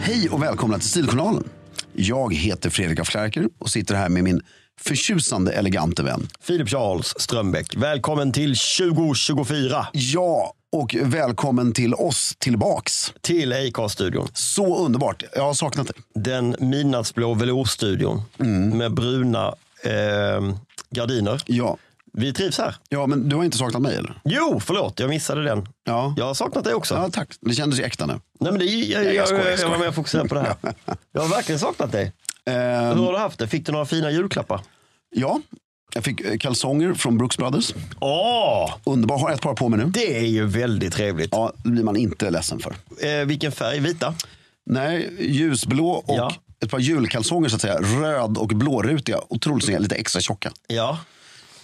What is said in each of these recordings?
Hej och välkomna till Stiljournalen. Jag heter Fredrik af Klerker och sitter här med min förtjusande elegante vän. Filip Charles Strömbäck, välkommen till 2024 Ja, och välkommen till oss tillbaks. till Acast-studion. Så underbart. Jag har saknat dig. Den midnattsblå velourstudion med bruna eh, gardiner. Ja. Vi trivs här. ja, men du har inte saknat mig eller? Jo, förlåt, jag missade den. Ja. Jag har saknat dig också. Ja, tack. Det kändes ju äkta nu. Nej, men det, jag, jag, Nej, jag jag, skojar, jag jag, var skojar. mer fokuserad på det här. Jag har verkligen saknat dig. Eh, Hur har du haft det? Fick du några fina julklappar? ja, jag fick eh, kalsonger från Brooks Brothers. Åh, Underbart. Har ett par på mig nu. det är ju väldigt trevligt. Ja, det blir man inte ledsen för. Eh, vilken färg? Vita? Nej, ljusblå och Ja. ett par julkalsonger så att säga. Röd och blårutiga. Otroligt snygga, lite extra tjocka. Ja.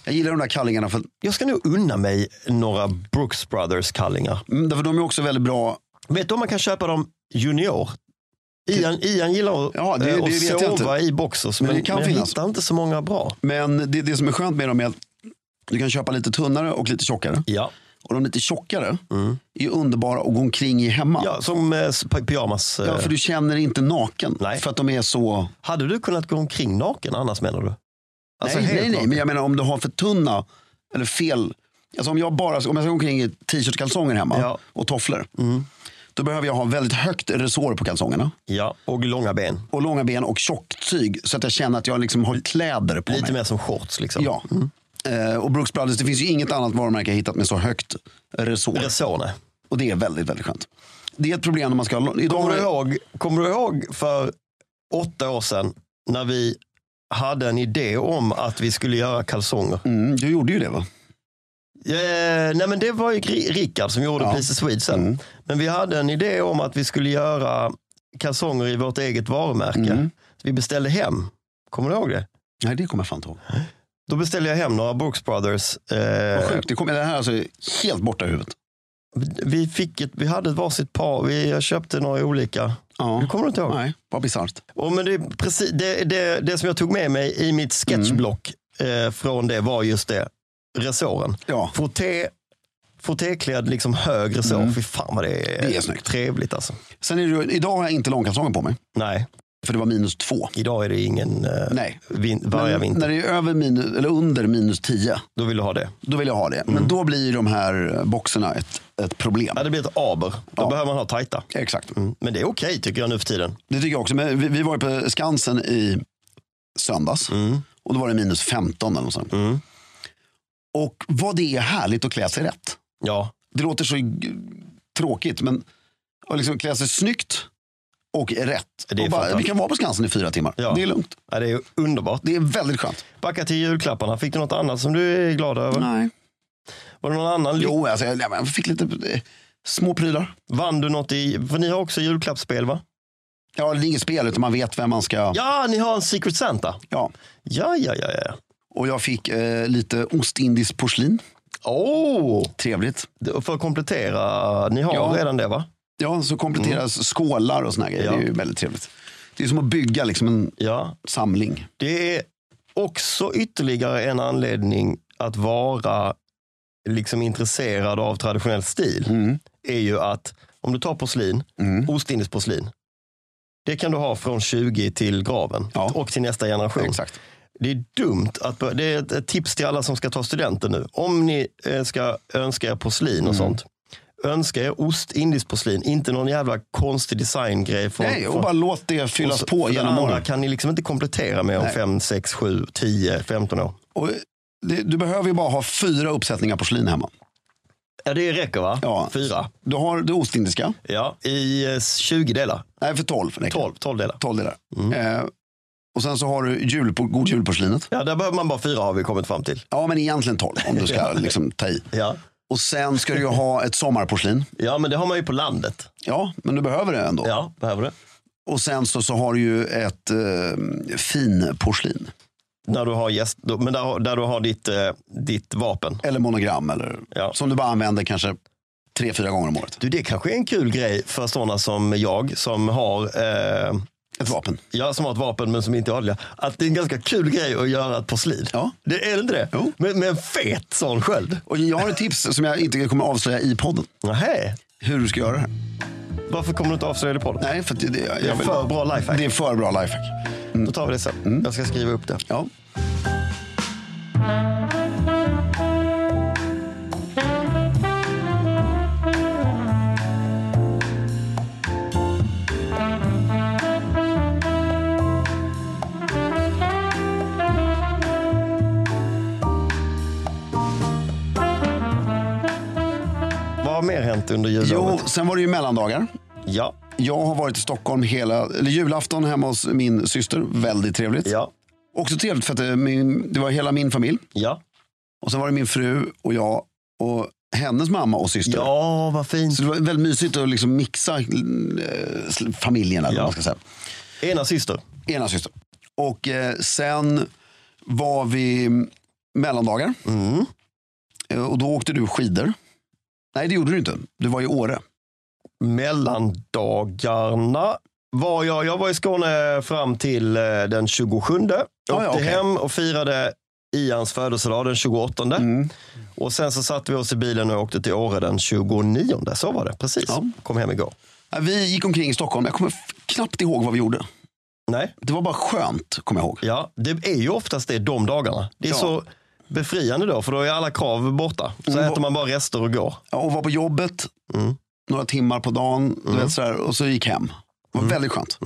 Jag gillar de där kallingarna för, Jag ska nog unna mig några Brooks Brothers-kallingar. mm, därför de är också väldigt bra. Vet du om man kan köpa dem junior? Ian, Ian gillar att Ja, det- eh, det att vet jag sova i boxers, Men men, det men kan jag finnas. hittar inte så många bra. Men det, det som är skönt med dem är att du kan köpa lite tunnare och lite tjockare. Ja, Och de lite tjockare är underbara att gå omkring i hemma. Mm. ja som eh, s- py- pyjamas. eh. Ja, för du känner dig inte naken. Nej. För att de är så... Hade du kunnat gå omkring naken annars menar du? Alltså, nej, helt nej, nej, naken? men jag menar om du har för tunna eller fel. Alltså om jag bara om jag ska gå omkring i t-shirt och kalsonger hemma Ja. Mm. och tofflor. Då behöver jag ha väldigt högt resår på kalsongerna. Ja, och långa ben. Och långa ben och tjockt tyg. Så att jag känner att jag liksom har kläder på Lite mig. mer som shorts liksom. Ja. Eh, och Brooks Brothers, det finns ju inget annat varumärke jag hittat med så högt resår. Resone. Och det är väldigt, väldigt skönt. Det är ett problem när man ska ha... Idag Kommer har du, jag... ihåg, kommer du ihåg för åtta år sedan när vi hade en idé om att vi skulle göra kalsonger? mm, du gjorde ju det va? Eh, nej men det var ju Gri- Rickard som gjorde Ja. Princess Swede sen. Mm. Men vi hade en idé om att vi skulle göra kalsonger i vårt eget varumärke. Mm. Så vi beställde hem. Kommer du ihåg det? Nej, det kommer jag fan inte ihåg. Då beställde jag hem några Brooks Brothers. Vad Eh, sjukt, det, kommer, det här är alltså helt borta i huvudet. vi, fick ett, vi hade ett varsitt par. Vi, jag köpte några olika. Ja. Det kommer du inte ihåg? Nej, vad bisarrt. Och men det, är precis, det, det, det som jag tog med mig i mitt sketchblock Mm. eh, från det var just det. Resåren. Ja. Frotté, frottéklädd liksom hög resår. Fy fan vad det är, Mm. Det är snyggt. trevligt alltså. Sen är det, ju- idag har jag inte långkalsonger på mig. Nej, För det var minus två. idag är det ingen eh, Nej. vin, Men vargavinter. när det är över minus, eller under minus tio, Då vill du ha det. då vill jag ha det. Men då blir ju de här boxarna ett, ett problem. Mm. Ja, det blir ett aber. Då behöver man ha tajta. Exakt. Mm. Men det är okej tycker jag nu för tiden. Det tycker jag också. Men vi, vi var ju på Skansen i söndags. Och då var det minus 15 eller något sånt. Mm. Och vad det är härligt att klä sig rätt. Ja, Det låter så g- tråkigt, men att liksom klä sig snyggt och rätt. Det är och bara, fantastiskt. vi kan vara på Skansen i fyra timmar. Ja. Det är lugnt. ja det är ju underbart. Det är väldigt skönt. Backa till julklapparna. Fick du något annat som du är glad över? Nej. Var det någon annan? ly- Jo, alltså, jag, jag fick lite eh, små prylar. Vann du något i... För ni har också julklappsspel va? Ja, det är inget spel, utan man vet vem man ska... Ja, ni har en Secret Santa. Ja. Ja, ja, ja. ja. Och jag fick eh, lite ostindiskt porslin. Åh! Trevligt. Det- För att komplettera, ni har Ja. redan det va? Ja, så kompletteras skålar och såna här grejer. Mm. Ja. Det är ju väldigt trevligt. Det är som att bygga liksom en Ja. samling. Det är också ytterligare en anledning att vara liksom intresserad av traditionell stil. Mm. är ju att om du tar porslin, ostindiskt porslin, det kan du ha från 20 till graven Ja. och till nästa generation. Exakt. Det är dumt att bör- Det är ett- ett tips till alla som ska ta studenten nu. Om ni eh, ska önska er porslin Mm. och sånt. Önska er ost, indiskt porslin. Inte någon jävla konstig designgrej. Från, Nej, och från- bara låt det fyllas och så- på för det genom andra åren. kan ni liksom inte komplettera med om Nej. 5, 6, 7, 10, 15 år. Och det, du behöver ju bara ha fyra uppsättningar porslin hemma. Ja, det räcker va? Ja. Fyra. Du har det ostindiska. Ja, i eh, 20 delar. Nej, för tolv. räcker. 12, 12 delar. Tolv delar. Mm. Eh, och sen så har du jul, god julporslinet. Ja, där behöver man bara fyra har vi kommit fram till. Ja, men egentligen tolv om du ska liksom ta i. Ja. Och sen ska du ju ha ett sommarporslin. ja, men det har man ju på landet. Ja, men du behöver det ändå. Ja, behöver det. Och sen så, så har du ju ett eh, finporslin. När du har gäst, då- men där, där du har ditt, eh, ditt vapen. Eller monogram. Eller, Ja. Som du bara använder kanske tre, fyra gånger om året. Du, det kanske är en kul grej för sådana som jag som har, eh, Ett vapen. jag som har ett vapen men som inte är adliga. Att det är en ganska kul grej att göra ett porslin. Ja. Det är det inte det? Jo. Med, med en fet sån sköld. Och jag har ett tips som jag inte kommer avslöja i podden. Nähä. Hur du ska göra det här. Varför kommer du inte avslöja det på podden? Nej, för att det, det, Det är jag vill, för bra lifehack. det är för bra lifehack. Då tar vi det sen. Jag ska skriva upp det. Ja. Vad har mer hänt under Jo, jullovet? sen var det ju mellandagar. Ja. Jag har varit i Stockholm hela eller julafton hemma hos min syster. Väldigt trevligt. Ja. Också trevligt för att det, min, det var hela min familj. Ja. Och sen var det min fru och jag och hennes mamma och syster. Ja, vad fint. Så det var väldigt mysigt att liksom mixa eh, familjerna. eller Ja. vad Man ska säga. Ena syster. Ena syster. Och eh, sen var vi mellandagar. Mm. Eh, Och då åkte du skidor. Nej, det gjorde du inte. Du var i Åre. mellandagarna var jag, jag var i Skåne fram till eh, den 27. Åkte Ah, ja, okej. hem och firade Ians födelsedag den 28. Mm. Och sen så satte vi oss i bilen och åkte till Åre den 29. Så var det, precis. Ja. Kom hem igår. Ja, Vi gick omkring i Stockholm. Jag kommer f- knappt ihåg vad vi gjorde. Nej, Det var bara skönt, kommer jag ihåg. ja, det är ju oftast det de dagarna. Det är Ja. så befriande då, för då är alla krav borta. Så Mm. äter man bara rester och går. Ja, Och var på jobbet. Mm. några timmar på dagen. Du vet, sådär, och så gick hem. Det var väldigt skönt.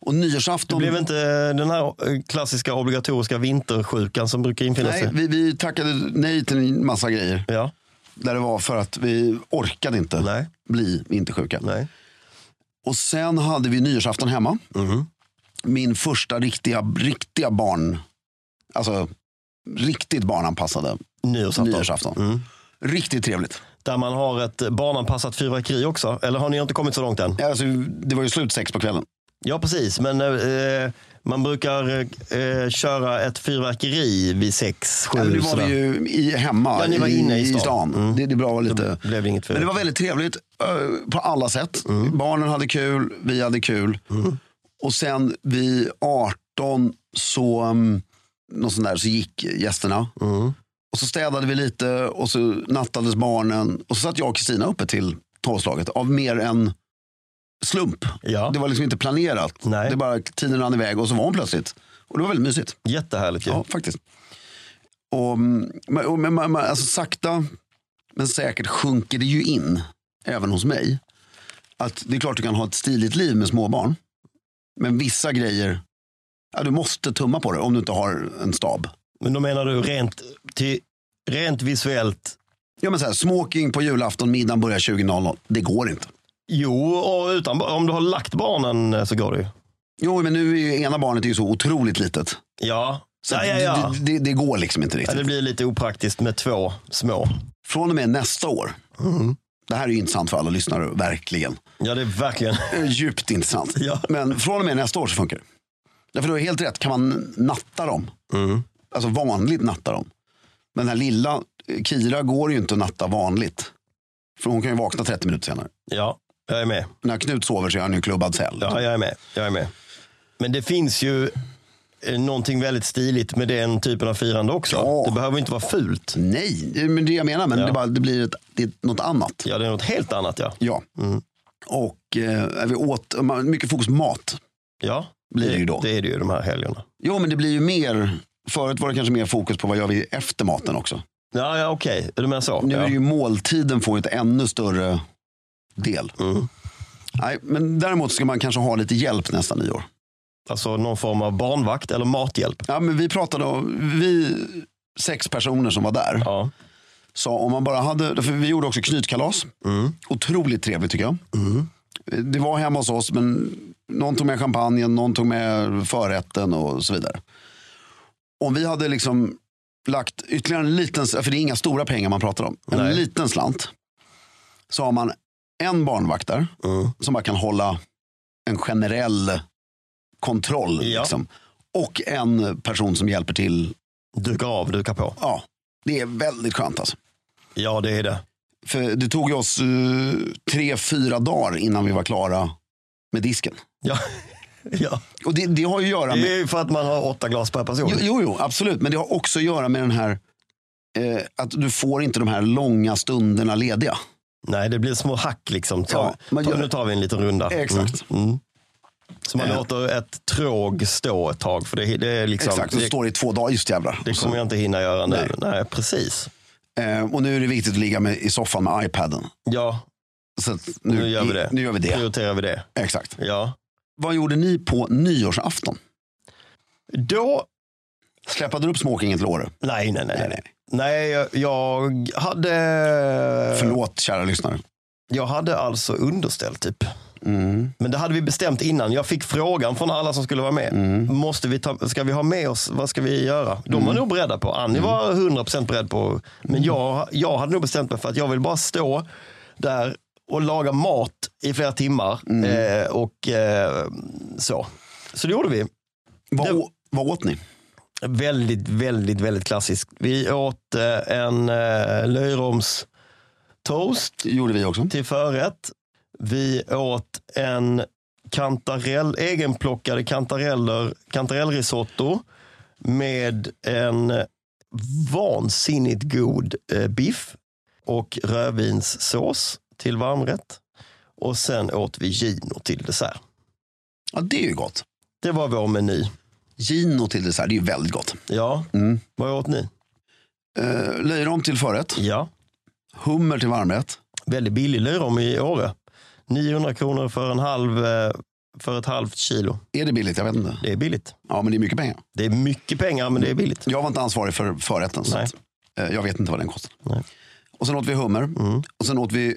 Och nyårsafton. Mm. Det blev inte eh, den här eh, klassiska obligatoriska vintersjukan som brukar infinna nej, sig? vi, vi tackade nej till en massa grejer. Ja, Där det var för att vi orkade inte Nej. bli inte sjuka. nej. Och sen hade vi nyårsafton hemma. Mm-hmm. Min första riktiga, riktiga barn, alltså riktigt barnanpassade Nyårsafton. nyårsafton. Mm. Riktigt trevligt. Där man har ett barnanpassat fyrverkeri också. Eller har ni inte kommit så långt än? Alltså, det var ju slut sex på kvällen. Ja, precis. Men eh, man brukar eh, köra ett fyrverkeri vid sex, sju. Ja, men nu var Eh, sådär. vi ju i, hemma Ja, ni var inne i stan. Mm. Det, det är bra att vara lite... blev det inget Men det var väldigt trevligt eh, på alla sätt. Barnen hade kul, vi hade kul. Och sen vid 18 så, um, någon sån där, så gick gästerna. Mm. Och så städade vi lite och så nattades barnen. Och så satt jag och Kristina uppe till tolvslaget av mer än slump. Ja, Det var liksom inte planerat. Nej. Det bara tiden rann iväg och så var hon plötsligt. Och det var väldigt mysigt. jättehärligt ju. Ja, faktiskt. Och, mm, men, och, men, men, alltså, sakta men säkert sjunker det ju in, även hos mig, att det är klart du kan ha ett stiligt liv med småbarn. Men vissa grejer, ja, du måste tumma på det om du inte har en stab. Men då menar du rent, till, rent visuellt? Ja, men så här, smoking på julafton, middagen börjar 20.00. Det går inte. Jo, och utan, om du har lagt barnen eh, så går det ju. Jo, men nu är ju ena barnet är ju så otroligt litet. Ja, Så ja, att ja, ja. Det, det, det går liksom inte ja. riktigt. Det blir lite opraktiskt med två små. Från och med nästa år, Mm. det här är ju intressant för alla lyssnare, verkligen. Ja, det är verkligen. Eh, Djupt intressant. Ja. Men från och med nästa år så funkar det. Därför du har helt rätt, kan man natta dem, Mm. alltså vanligt natta dem. Men den här lilla eh, Kira går ju inte att natta vanligt. För hon kan ju vakna 30 minuter senare. Ja, jag är med. När Knut sover så är han ju klubbad säl. Ja, jag är med. Jag är med. Men det finns ju eh, någonting väldigt stiligt med den typen av firande också. Ja. Det behöver inte vara fult. Nej, det är men det jag menar, men det, bara, det blir ett, det är något annat. Ja, det är något helt annat ja. Ja. Mm. Och eh, vi åt, mycket fokus på mat. Ja, Blir det ju då. Det är det ju de här helgerna. Jo, men det blir ju mer, förut var det kanske mer fokus på vad gör vi efter maten också. Ja, ja okej. Du menar så? Nu ja. är det ju måltiden får ju ett ännu större del. Mm. Nej, men däremot ska man kanske ha lite hjälp nästa nyår. Alltså någon form av barnvakt eller mathjälp. Ja, men vi pratade om, vi sex personer som var där, Ja. sa om man bara hade, för vi gjorde också knytkalas. Mm, Otroligt trevligt tycker jag. Det var hemma hos oss, men någon tog med champagnen, någon tog med förrätten och så vidare. Om vi hade liksom lagt ytterligare en liten, för det är inga stora pengar man pratar om, en Nej. liten slant. Så har man en barnvakt där. mm. som bara kan hålla en generell kontroll. Ja. Liksom. Och en person som hjälper till. Duka av, duka på. Ja, det är väldigt skönt. Alltså. Ja, det är det. För det tog ju oss eh, tre, fyra dagar innan vi var klara med disken. Ja. ja. Och det, det har ju att göra Det med... är ju för att man har åtta glas per person. Jo, jo, jo, absolut. Men det har också att göra med den här eh, att du får inte de här långa stunderna lediga. Nej, det blir små hack liksom. Ta, Ja, man ta, gör- Nu tar vi en liten runda. Exakt. Mm. Mm. Så man Eh. låter ett tråg stå ett tag. För det, det är liksom... Exakt, så det, står det i två dagar. Just jävlar. det Och så- kommer jag inte hinna göra nu. Nej. Nej, precis. eh, och nu är det viktigt att ligga med, i soffan med iPaden. Ja, Så att nu, gör vi det. Nu gör vi det. Prioriterar vi det. Exakt. Ja. Vad gjorde ni på nyårsafton? Då... Släpade du upp smokingen till Åre? Nej, nej, nej. Nej, Nej, nej. nej jag, jag hade... Förlåt kära lyssnare. Jag hade alltså underställ typ. Men det hade vi bestämt innan. Jag fick frågan från alla som skulle vara med. Måste vi ta, ska vi ha med oss, vad ska vi göra? De var nog beredda på, Annie var 100% beredd på. Men jag, jag hade nog bestämt mig för att jag vill bara stå där och laga mat i flera timmar. Eh, och eh, så. Så det gjorde vi. Vad, Det- å- vad åt ni? Väldigt, väldigt, väldigt klassiskt. Vi åt eh, en eh, löjroms toast Det gjorde vi också. till förrätt. Vi åt en kantarell, egenplockade kantareller, kantarellrisotto med en vansinnigt god eh, biff och rödvinssås till varmrätt. Och sen åt vi gino till dessert. Ja, det är ju gott. Det var vår meny. Gino till dessert, det är ju väldigt gott. Ja, Mm. vad åt ni? Eh, löjrom till förrätt, Ja, hummer till varmrätt, Väldigt billig lörom i Åre. 900 kronor för, en halv, eh, för ett halvt kilo. Är det billigt? Jag vet inte. Det är billigt. Ja, men det är mycket pengar. Det är mycket pengar, men det är billigt. Jag var inte ansvarig för förrätten. Så Nej. att, eh, jag vet inte vad den kostade. Nej. Mm. Och sen åt vi hummer. Och sen åt vi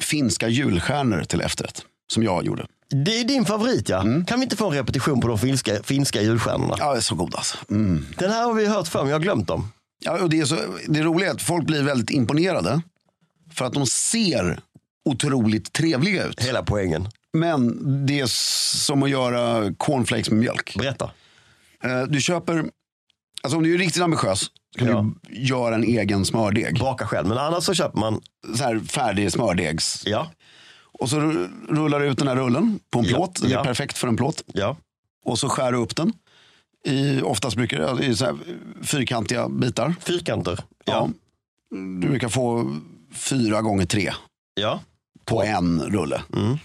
finska julstjärnor till efterrätt. Som jag gjorde. Det är din favorit, ja. Kan vi inte få en repetition på de finska, finska julstjärnorna? Mm. Ja, det är så god alltså. Mm. Den här har vi hört för mig, jag har glömt dem. Ja, och det, är så, det roliga är att folk blir väldigt imponerade. För att de ser otroligt trevliga ut. Hela poängen. Men det är som att göra cornflakes med mjölk. Berätta. Eh, Du köper, alltså om du är riktigt ambitiös så kan Ja. du göra en egen smördeg. Baka själv, men annars så köper man... Så här färdig smördegs. Ja, Och så ru- rullar du ut den här rullen på en Ja, plåt. Det är ja. perfekt för en plåt. ja. Och så skär du upp den. I, oftast brukar det i så här fyrkantiga bitar. Fyrkanter. Ja. Ja. Du brukar få fyra gånger tre ja. på en rulle. Mm.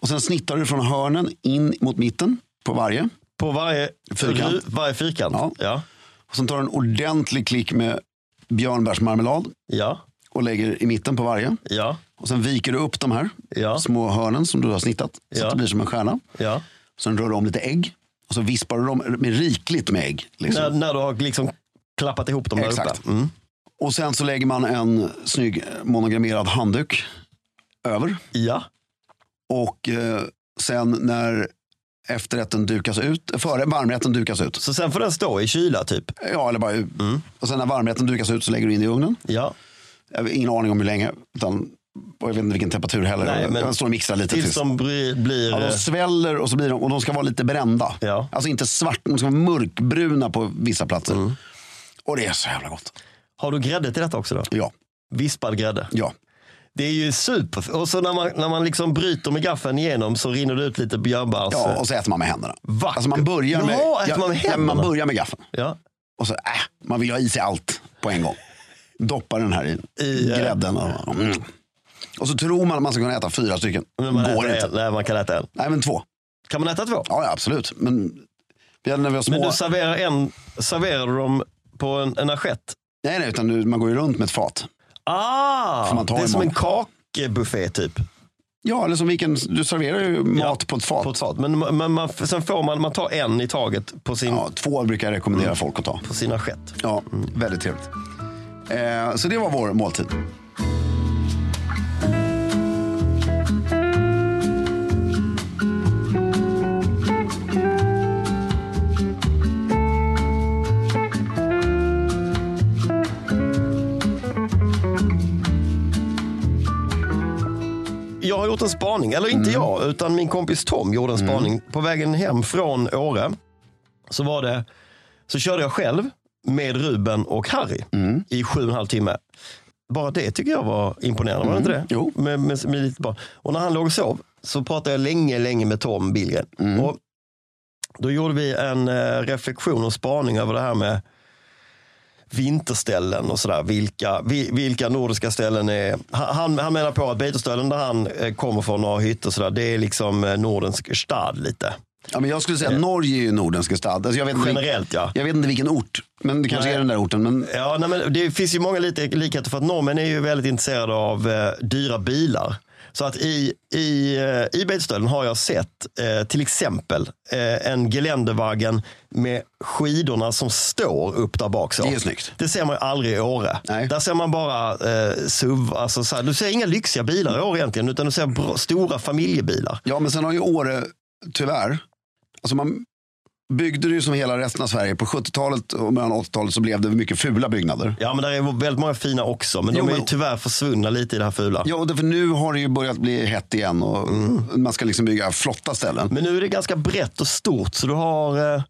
Och sen snittar du från hörnen in mot mitten på varje. På varje Fyrkant. ru- Varje fyrkant. Ja. Ja. Ja. Och sen tar du en ordentlig klick med björnbärsmarmelad ja, och lägger i mitten på varje. ja, Och sen viker du upp de här ja, små hörnen som du har snittat så Ja. att det blir som en stjärna. ja. Sen rör du om lite ägg och så vispar du dem med rikligt med ägg. Liksom. När, när du har liksom klappat ihop dem där Exakt. uppe. Mm. Och sen så lägger man en snygg monogrammerad handduk över. Ja, Och eh, sen när efterrätten dukas ut, före varmrätten dukas ut. så sen får den stå i kyla typ. Ja, eller bara, Mm. Och sen när varmrätten dukas ut så lägger du in det i ugnen. Ja. Jag har ingen aning om hur länge. Utan, och jag vet inte vilken temperatur heller. Nej, men- Den står och mixar lite. Tills de bry- blir... eh, Ja, de sväller och, så blir de, och de ska vara lite brända. Ja. Alltså inte svart, de ska vara mörkbruna på vissa platser. Mm. Och det är så jävla gott. Har du grädde till detta också då? Ja, Vispad grädde. ja. Det är ju super. Och så när man, när man liksom bryter med gaffeln igenom så rinner det ut lite björnbärs. ja och så äter man med händerna. Vackert. Alltså man börjar med, Jaha, äter ja, man med ja, men händerna? man börjar med gaffeln. Ja. Och så, äh, man vill ju ha i sig allt på en gång. Doppa den här i, I, eh, grädden. Och, mm. och så tror man att man ska kunna äta fyra stycken. Men man Går äter inte. En. Nej, man kan äta en. Nej men två. Kan man äta två? Ja, ja absolut. Men vi hade när vi var små. Men du serverar en, serverar du dem på en, en assiett? Nej, nej, utan du, man går ju runt med ett fat. Ah, Får man ta det är i som en mån? kakbuffé typ. Ja, eller som vilken, du serverar ju mat på ett fat. På ett fat. Men, men man, sen får man, man tar en i taget på sin, Ja, två brukar jag rekommendera Mm. folk att ta. på sin assiett. Ja, väldigt trevligt. Eh, så det var vår måltid. Jag har gjort en spaning, eller Mm. inte jag, utan min kompis Tom gjorde en spaning. På vägen hem från Åre så, var det, så körde jag själv med Ruben och Harry i sju och en halv timme. Bara det tycker jag var imponerande, var det inte det? Jo. Med, med, med lite barn. Och när han låg och sov så pratade jag länge, länge med Tom Billgren. Och då gjorde vi en eh, reflektion och spaning över det här med vinterställen och sådär. Vilka, vi, vilka nordiska ställen är... han- Han, han menar på att Beitoställen där han eh, kommer från, några hyttor och sådär, det är liksom eh, Nordens stad lite. Ja, men jag skulle säga att Norge är ju Nordens gestad. Alltså, jag, vet inte vilken, Generellt ja. jag vet inte vilken ort, men det kanske Nej. är den där orten. Men Ja, nej, men det finns ju många lite likheter för att norrmän är ju väldigt intresserade av eh, dyra bilar. Så att i, i, eh, i Beitostölden har jag sett eh, till exempel eh, en geländevagen med skidorna som står upp där bak. Så. Det är snyggt. Det ser man ju aldrig i Åre. Nej. Där ser man bara eh, SUV. Alltså, så här, du ser inga lyxiga bilar i Åre egentligen, utan du ser bra, stora familjebilar. Ja, men sen har ju Åre, tyvärr, alltså man byggde det ju som hela resten av Sverige. På 70-talet och början av 80-talet så blev det mycket fula byggnader. Ja, men där är väldigt många fina också, men Jo, de är men- ju tyvärr försvunna lite i det här fula. Ja, och därför nu har det ju börjat bli hett igen och man ska liksom bygga flotta ställen. Men nu är det ganska brett och stort, så du har... eh,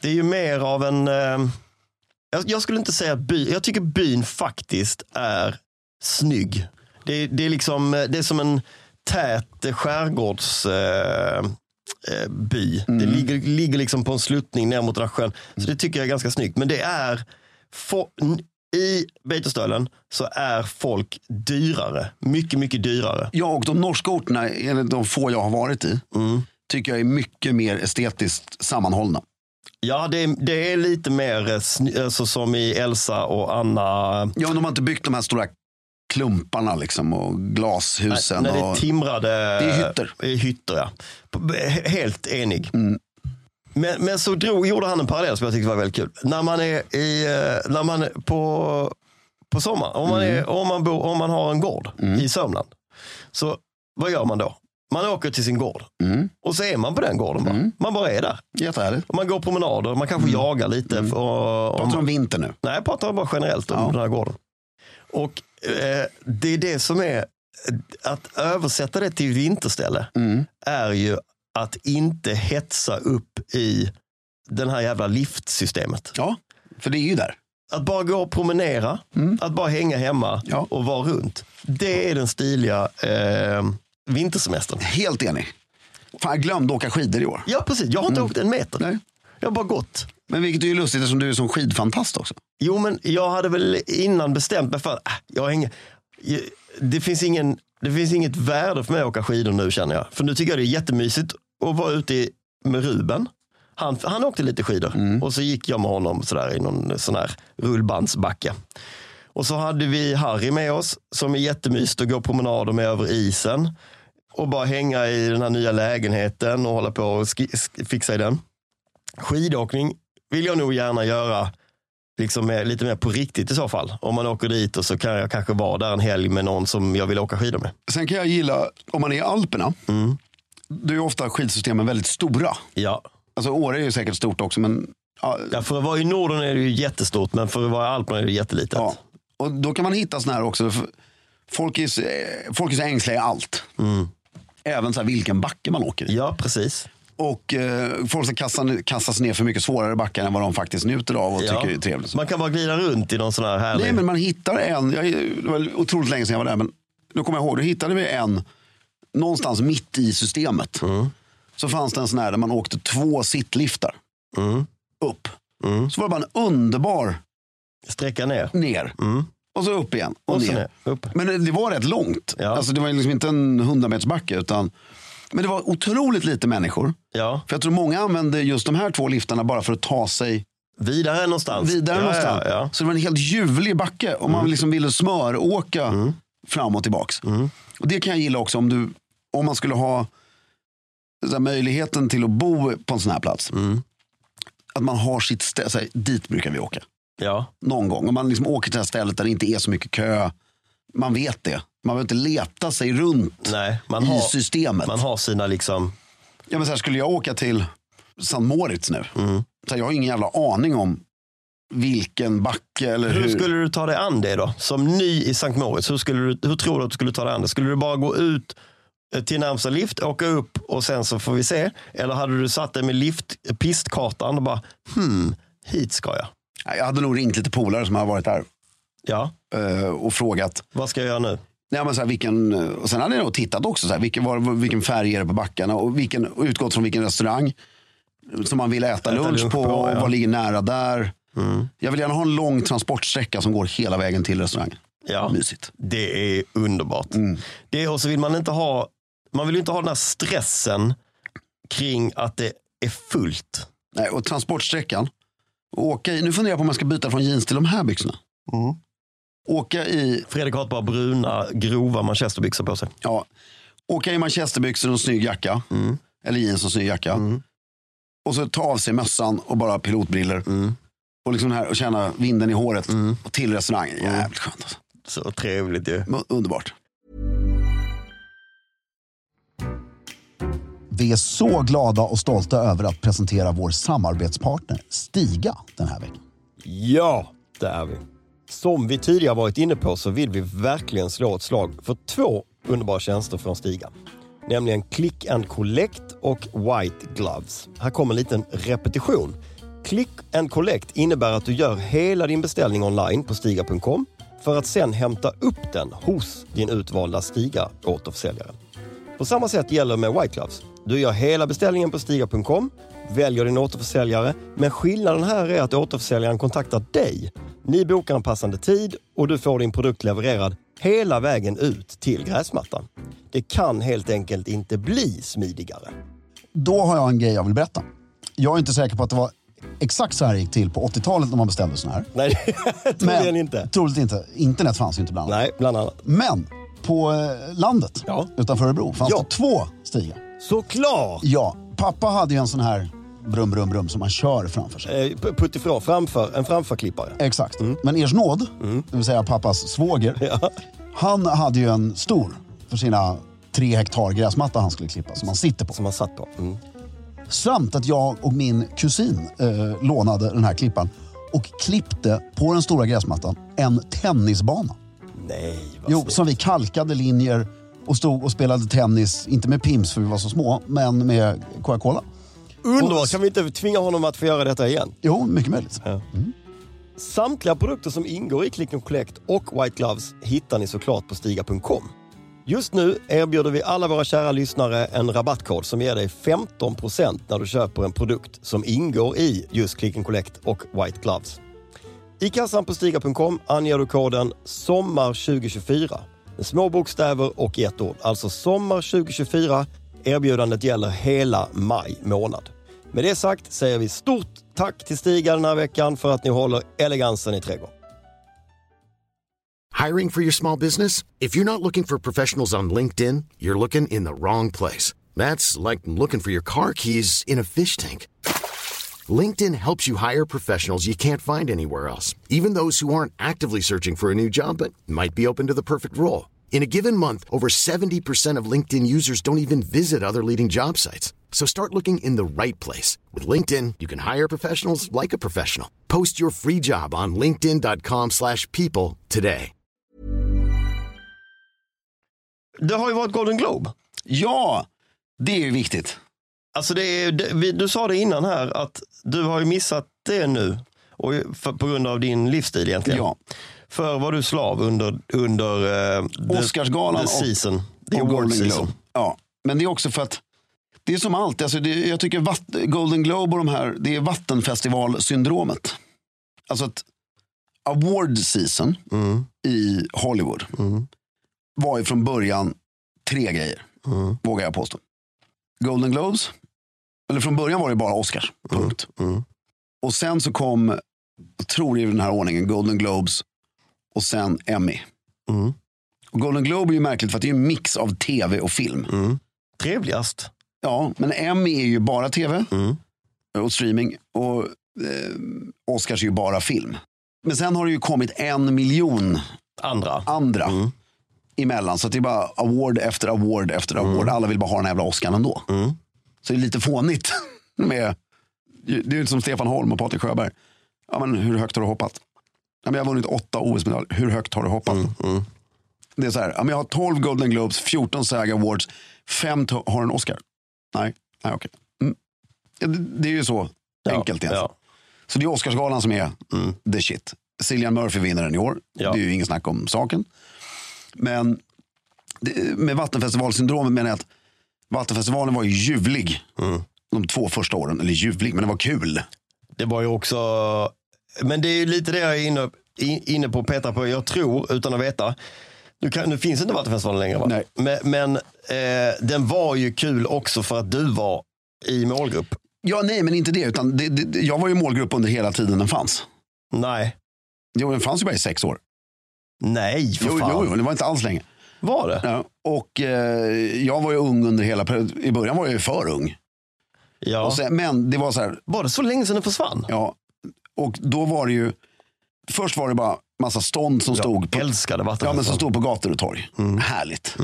Det är ju mer av en... eh, jag- Jag skulle inte säga by. Jag tycker byn faktiskt är snygg. Det, det, är, liksom, eh, det är som en tät skärgårdsby. Eh, eh, by. Det ligger, ligger liksom på en sluttning ner mot den här sjön. Så det tycker jag är ganska snyggt. Men det är... fo- n- I Beitostölen så är folk dyrare. Mycket, mycket dyrare. Ja, och de norska orterna, enligt de få jag har varit i, tycker jag är mycket mer estetiskt sammanhållna. Ja, det, är- det är lite mer eh, sny- alltså, som i Elsa och Anna. Ja, men de har inte byggt de här stora klumparna liksom och glashusen. Nej, det är och, timrade Det är hytter. Mm. det är hytter ja. He- Helt enig. Men, men så drog, gjorde han en parallell som jag tyckte var väldigt kul. När man är i, eh, när man är på, på sommaren, om Mm. man, är, om, man bor, om man har en gård i Sörmland. Så vad gör man då? Man åker till sin gård Mm. och så är man på den gården. Bara. Man bara är där. Jättehärligt. Och man går promenader, man kanske Mm. jagar lite. Och, och Pratar om vinter nu. Nej, jag pratar bara generellt om Ja. den här gården. Och eh, det är det som är, att översätta det till vinterställe Mm. är ju att inte hetsa upp i den här jävla liftsystemet. Ja, för det är ju där. Att bara gå och promenera, att bara hänga hemma Mm. Ja. och vara runt. Det är den stiliga eh, vintersemestern. Helt enig. Fan, jag glömde åka skidor i år. Ja, precis. Jag har inte åkt en meter. Mm. Nej. Jag har bara gått. Men vilket är ju lustigt eftersom du är som skidfantast också. Jo, men jag hade väl innan bestämt mig för att äh, jag har ingen, det, finns ingen, det finns inget värde för mig att åka skidor nu känner jag. För nu tycker jag det är jättemysigt att vara ute i, med Ruben. Han, han åkte lite skidor och så gick jag med honom sådär i någon sån här rullbandsbacke. Och så hade vi Harry med oss som är jättemysigt att gå promenader med över isen. Och bara hänga i den här nya lägenheten och hålla på och ski- sk- fixa i den. Skidåkning vill jag nog gärna göra liksom mer, lite mer på riktigt i så fall. Om man åker dit och så kan jag kanske vara där en helg med någon som jag vill åka skidor med. Sen kan jag gilla, om man är i Alperna, Mm. då är ju ofta skidsystemen väldigt stora. Ja. Alltså Åre är ju säkert stort också, men ja, ja, för att vara i Norden är det ju jättestort, men för att vara i Alperna är det jättelitet. ja. Och då kan man hitta sådana här också. för Folk är, så- eh, folk är så ängsliga i allt. Även så här vilken backe man åker i. Mm. Ja, precis. Och eh, folk som kastar, kastas ner för mycket svårare backar än vad de faktiskt njuter av och Ja. tycker det är trevligt. Man kan bara glida runt i någon sån här härlig... Nej, men man hittar en. Jag, det var otroligt länge sedan jag var där, men då kommer jag ihåg. Då hittade vi en någonstans mitt i Mm. systemet. Så fanns det en sån här där man åkte två sittliftar Mm. upp. Så var det bara en underbar Sträcka ner. ner och så upp igen och, Och så ner. ner. Upp. Men det- det var rätt långt. Ja. Alltså, det var ju liksom inte en hundrametersbacke utan men det var otroligt lite människor. Ja, För jag tror många använde just de här två liftarna bara för att ta sig vidare någonstans. vidare Alltså, ja, någonstans. Ja, ja. Mm. Så det var en helt ljuvlig backe om man liksom ville smöråka fram och tillbaks. Och det kan jag gilla också om, du, om man skulle ha så här, möjligheten till att bo på en sån här plats. Mm. Att man har sitt ställe, så här, dit brukar vi åka ja. någon gång. Om man liksom åker till det här stället där det inte är så mycket kö. Man vet det. Man behöver inte leta sig runt Nej, man i har, systemet. man har sina liksom... Ja, men så här, skulle jag åka till San Moritz nu. Så här, jag har ingen jävla aning om vilken backe eller hur. Hur skulle du ta dig an det då? Som ny i Sankt Moritz, hur, skulle du, hur tror du att du skulle ta dig an det? Skulle du bara gå ut eh, till närmsta lift, åka upp och sen så får vi se? Eller hade du satt dig med lift, eh, pistkartan och bara, hmm, hit ska jag. Nej, Jag hade nog ringt lite polare som har varit där Ja, eh, och frågat. vad ska jag göra nu? Nej, men så här, vilken, och sen hade jag nog tittat också. Så här, vilken, var, vilken färg är det på backarna och vilken, och utgått från vilken restaurang som man vill äta, lunch, lunch på. Mm. på, och ja. Vad ligger nära där. Jag vill gärna ha en lång transportsträcka som går hela vägen till restaurangen. Ja, Mysigt. det är underbart. Det, och så vill man inte ha, man vill ju inte ha den här stressen kring att det är fullt. Nej, och transportsträckan. Åka i, nu funderar jag på om jag ska byta från jeans till de här byxorna. Mm. Åka i, Fredrik har ett par bruna, grova manchesterbyxor på sig. ja, åka i manchesterbyxor och en snygg jacka. Eller jeans och en snygg jacka. Och så ta av sig mössan och bara pilotbriller. Och, liksom här, och känna vinden i håret. Och till restaurangen. Jävligt skönt. Alltså. Så trevligt ju. Men Underbart. Vi är så glada och stolta över att presentera vår samarbetspartner Stiga den här veckan. Ja, det är vi. Som vi tidigare varit inne på så vill vi verkligen slå ett slag för två underbara tjänster från Stiga. Nämligen Click and Collect och White Gloves. Här kommer en liten repetition. Click and Collect innebär att du gör hela din beställning online på stiga.com för att sen hämta upp den hos din utvalda Stiga återförsäljare. På samma sätt gäller med White Gloves. Du gör hela beställningen på Stiga.com, väljer din återförsäljare, men skillnaden här är att återförsäljaren kontaktar dig. Ni bokar en passande tid och du får din produkt levererad hela vägen ut till gräsmattan. Det kan helt enkelt inte bli smidigare. Då har jag en grej jag vill berätta. Jag är inte säker på att det var Exakt så här gick till på 80-talet när man beställde såna här. Nej, troligen inte. Troligt inte. Internet fanns ju inte bland annat. Nej, bland annat. Men på eh, landet Ja. utanför Örebro fanns Ja. det två stigar. Såklart! Ja, pappa hade ju en sån här brum, brum, brum som man kör framför sig. Eh, p- Puttifrån, framför, en framförklippare. Exakt. Mm. Men Ers nåd, det vill säga pappas svåger, han hade ju en stor för sina tre hektar gräsmatta han skulle klippa som han sitter på. Som man satt på. Mm. Samt att jag och min kusin eh, lånade den här klippan och klippte på den stora gräsmattan en tennisbana. Nej, vad Jo, snyggt. som vi kalkade linjer och stod och spelade tennis, inte med Pims för vi var så små, men med Coca-Cola. Underbart! Kan vi inte tvinga honom att få göra detta igen? Jo, mycket möjligt. Samtliga produkter som ingår i Click and Collect och White Gloves hittar ni såklart på Stiga.com. Just nu erbjuder vi alla våra kära lyssnare en rabattkod som ger dig 15% när du köper en produkt som ingår i just Click and Collect och White Gloves. I kassan på Stiga.com anger du koden SOMMAR2024 med små bokstäver och i ett ord. Alltså SOMMAR2024. Erbjudandet gäller hela maj månad. Med det sagt säger vi stort tack till Stiga den här veckan för att ni håller elegansen i trädgården. Hiring for your small business? If you're not looking for professionals on LinkedIn, you're looking in the wrong place. That's like looking for your car keys in a fish tank. LinkedIn helps you hire professionals you can't find anywhere else, even those who aren't actively searching for a new job but might be open to the perfect role. In a given month, over 70% of LinkedIn users don't even visit other leading job sites. So start looking in the right place. With LinkedIn, you can hire professionals like a professional. Post your free job on linkedin.com/people slash people today. Det har ju varit Golden Globe. Ja, det är ju viktigt. Alltså det är, det, vi, du sa det innan här att du har ju missat det nu och ju- för, på grund av din livsstil egentligen. Ja. Förr var du slav under, under eh, the- Oscarsgalan the och- season. The och award Golden season. Globe. Ja, men det är också för att det är som allt. Alltså det, jag tycker vatt, Golden Globe och de här, det är vattenfestivalsyndromet. Alltså att award season i Hollywood var ju från början tre grejer, vågar jag påstå. Golden Globes, eller från början var det bara Oscars, punkt. Och sen så kom, jag tror det är i den här ordningen, Golden Globes och sen Emmy. Och Golden Globe är ju märkligt för att det är en mix av tv och film. Mm. Trevligast. Ja, men Emmy är ju bara tv och streaming. Och eh, Oscars är ju bara film. Men sen har det ju kommit en miljon Andra. andra Mm. emellan. Så att det är bara award efter award efter Mm. award. Alla vill bara ha den här jävla Oscarn ändå. Så det är lite fånigt. med, det är ju inte som Stefan Holm och Patrik Sjöberg. Ja, men hur högt har du hoppat? Ja, men jag har vunnit åtta OS-medaljer. Hur högt har du hoppat? Mm, Det är så här, ja, men jag har 12 Golden Globes, 14 SAG Awards, 5 har en Oscar. Nej, nej okej. Mm. Ja, Det, det är ju så enkelt egentligen. Ja. Så det är Oscarsgalan som är mm, the shit. Cillian Murphy vinner den i år. Ja. Det är ju ingen snack om saken. Men det, med Vattenfestivalsyndromet menar jag att Vattenfestivalen var ju ljuvlig Mm. de två första åren. Eller ljuvlig, men den var kul. Det var ju också... Men det är ju lite det jag är inne, in- inne på och petar på. Jag tror, utan att veta. Nu, kan, nu finns inte Vattenfestivalen längre va? Nej. Men, men eh, den var ju kul också för att du var i målgrupp. Ja, nej, men inte det. Utan det, det, det- jag var ju målgrupp under hela tiden den fanns. Nej. Jo, den fanns ju bara i sex år. Nej, för Jo, fan. jo, jo, det var inte alls länge. Var det? Ja, och eh, jag var ju ung under hela perioden. I början var jag ju för ung. Ja. Och sen, men det var så här, Var det så länge sedan den försvann? Ja, och då var det ju, först var det bara massa stånd som stod Jag på, älskade ja, men som Vattenfestivalen. stod på gator och torg. Härligt.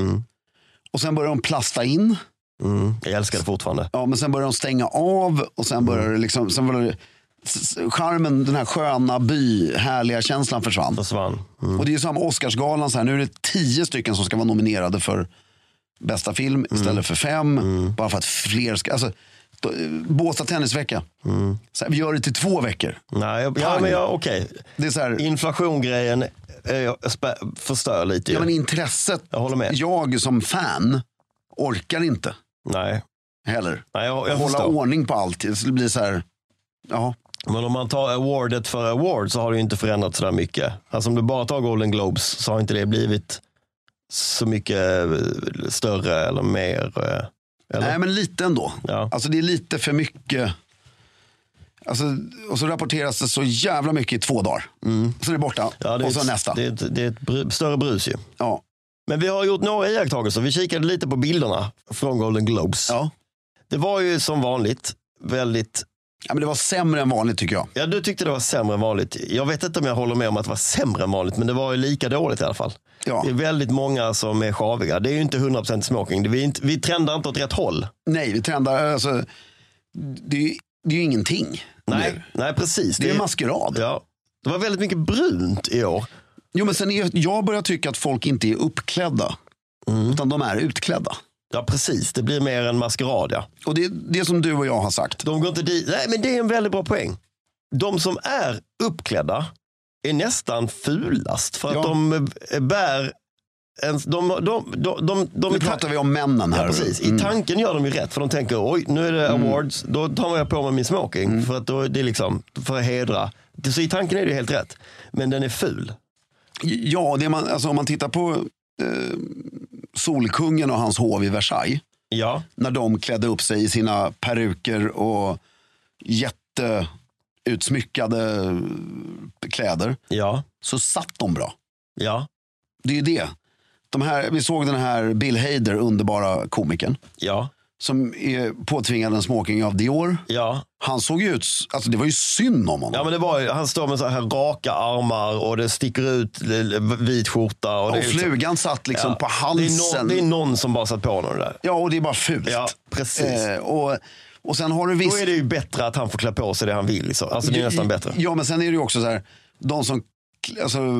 Och sen började de plasta in, Mm. Jag älskar det fortfarande. ja, men sen började de stänga av och sen började det liksom, sen var det, s- s- charmen, den här sköna by, härliga känslan försvann. Försvann. Mm. Och det är ju samma Oscarsgalan, så här, nu är det tio stycken som ska vara nominerade för bästa film istället för fem. Bara för att fler ska, alltså, då- Båstad tennisvecka. Så här, vi gör det till två veckor. Nej, jag, ja, Pang. men jag, okej. Det är så här, Inflationgrejen eh, jag spä- förstör lite ju. Ja, men intresset. Jag håller med. Jag som fan orkar inte Nej, heller. Nej jag, jag Hålla förstår. ordning på allt. Det skulle bli så här. Ja, Men om man tar awardet för award så har det ju inte förändrats sådär mycket. Alltså om du bara tar Golden Globes så har inte det blivit så mycket eh, större eller mer. eh, Eller? nej men lite ändå. Ja. Alltså det är lite för mycket. Alltså, och så rapporteras det så jävla mycket i två dagar. Så är det borta. Mm. Ja, det är och så ett, nästa. Det är ett, det är ett bru, större brus ju. Ja. Men vi har gjort några iakttagelser. Vi kikade lite på bilderna från Golden Globes. Ja. Det var ju som vanligt väldigt... ja, men det var sämre än vanligt tycker jag. Ja, du tyckte det var sämre än vanligt. Jag vet inte om jag håller med om att det var sämre än vanligt, men det var ju lika dåligt i alla fall. Ja. Det är väldigt många som är sjaviga. Det är ju inte 100% smoking. Det- Vi, är inte, vi trendar inte åt rätt håll. Nej, vi trendar. Alltså, det, är ju- det är ju ingenting. Nej, nu. nej precis. Det är maskerad. ja. det var väldigt mycket brunt i år. Jo, men sen är, jag börjar tycka att folk inte är uppklädda. Utan de är utklädda. Ja, precis. Det blir mer en maskerad. Ja. Och det är det som du och jag har sagt. De går inte dit. Nej, men det är en väldigt bra poäng. De som är uppklädda är nästan fulast för att Ja. de eh, bär en, de, de, de, de, de, de Nu pratar vi om männen här. Ja, precis. I tanken gör de ju rätt för de tänker oj nu är det awards, då tar jag på mig min smoking för, att då, är det är liksom, för att hedra. Så i tanken är det ju helt rätt. Men den är ful. Ja, det man, alltså, om man tittar på eh, Solkungen och hans hov i Versailles. Ja, När de klädde upp sig i sina peruker och jätteutsmyckade eh, kläder. ja, Så satt de bra. ja, Det är ju det. De här, vi såg den här Bill Hader, underbara komikern. ja, Som är påtvingad en smoking av Dior. ja. Han såg ju ut, alltså det var ju synd om honom. Ja men det var ju, han står med så här raka armar och det sticker ut eh, vit skjorta. Och, det och är liksom- flugan satt liksom Ja. på Det är, halsen. någon, det är någon som bara satt på honom det där. Ja, och det är bara fult. Ja, precis. Eh, och, och sen har du Då visst... är det ju bättre att han får klä på sig det han vill. Liksom. Alltså det är nästan bättre. Ja, men sen är det ju också så här, de som, alltså, nu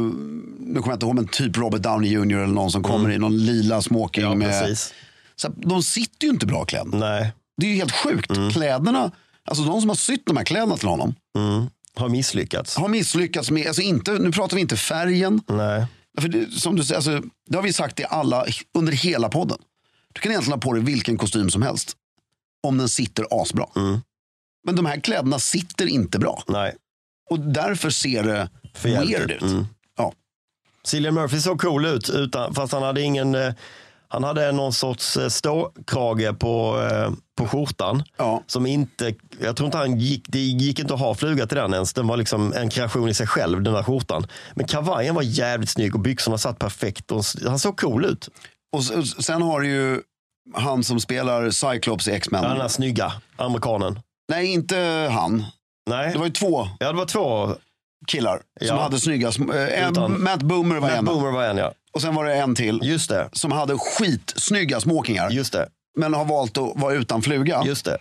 kommer jag inte ihåg, men typ Robert Downey Jr eller någon som kommer i någon lila smoking. Mm. Ja, med, precis. Mm. så här, de sitter ju inte bra klädda. Nej, Det är ju helt sjukt. Mm. Kläderna, alltså de som har sytt de här kläderna till honom Mm. har misslyckats. har misslyckats med, alltså inte, nu pratar vi inte färgen. Nej. För det, som du säger, alltså, det har vi sagt i alla, under hela podden. Du kan egentligen ha på dig vilken kostym som helst. Om den sitter asbra. Mm. Men de här kläderna sitter inte bra. Nej. Och därför ser det För weird jävligt. ut. Mm. Ja. Cillian Murphy såg cool ut, utan, fast han hade ingen... eh, Han hade någon sorts eh, ståkrage på, eh, på skjortan. Ja. Som inte, jag tror inte han gick, det gick inte att ha fluga till den ens. Den var liksom en kreation i sig själv, den där skjortan. Men kavajen var jävligt snygg och byxorna satt perfekt. Och s- han såg cool ut. Och s- s- sen har du ju han som spelar Cyclops i X-Men. Den där snygga amerikanen. Nej, inte han. Nej, Det var ju två ja, det var två. killar som Ja. hade snygga... sm- eh, en- Utan- Matt Boomer var Matt en. Boomer var en ja. Och sen var det en till Just det, som hade skitsnygga smokingar. just det, Men har valt att vara utan fluga. just det.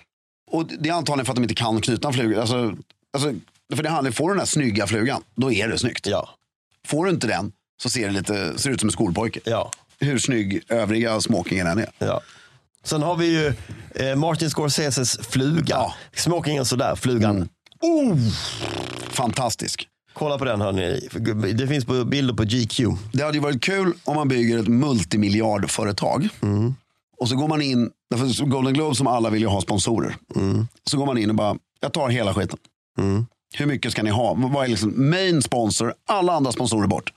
Och det är antagligen för att de inte kan knyta en fluga. Alltså, alltså, för det handlar får du den här snygga flugan, då är det snyggt. Ja, Får du inte den så ser det lite, ser det ut som en skolpojke. ja. Hur snygg övriga smokingen än är. Ja. Sen har vi ju eh, Martin Scorseses fluga. Ja. Mm. Smokingen sådär, flugan. Oh! Fantastisk. Kolla på den hörni. Det finns på bilder på GQ. Det hade ju varit kul om man bygger ett multimiljardföretag. Mm, Och så går man in, därför så Golden Globe som alla vill ju ha sponsorer. mm. Så går man in och bara, jag tar hela skiten. Hur mycket ska ni ha? Vad är liksom main sponsor? Alla andra sponsorer bort.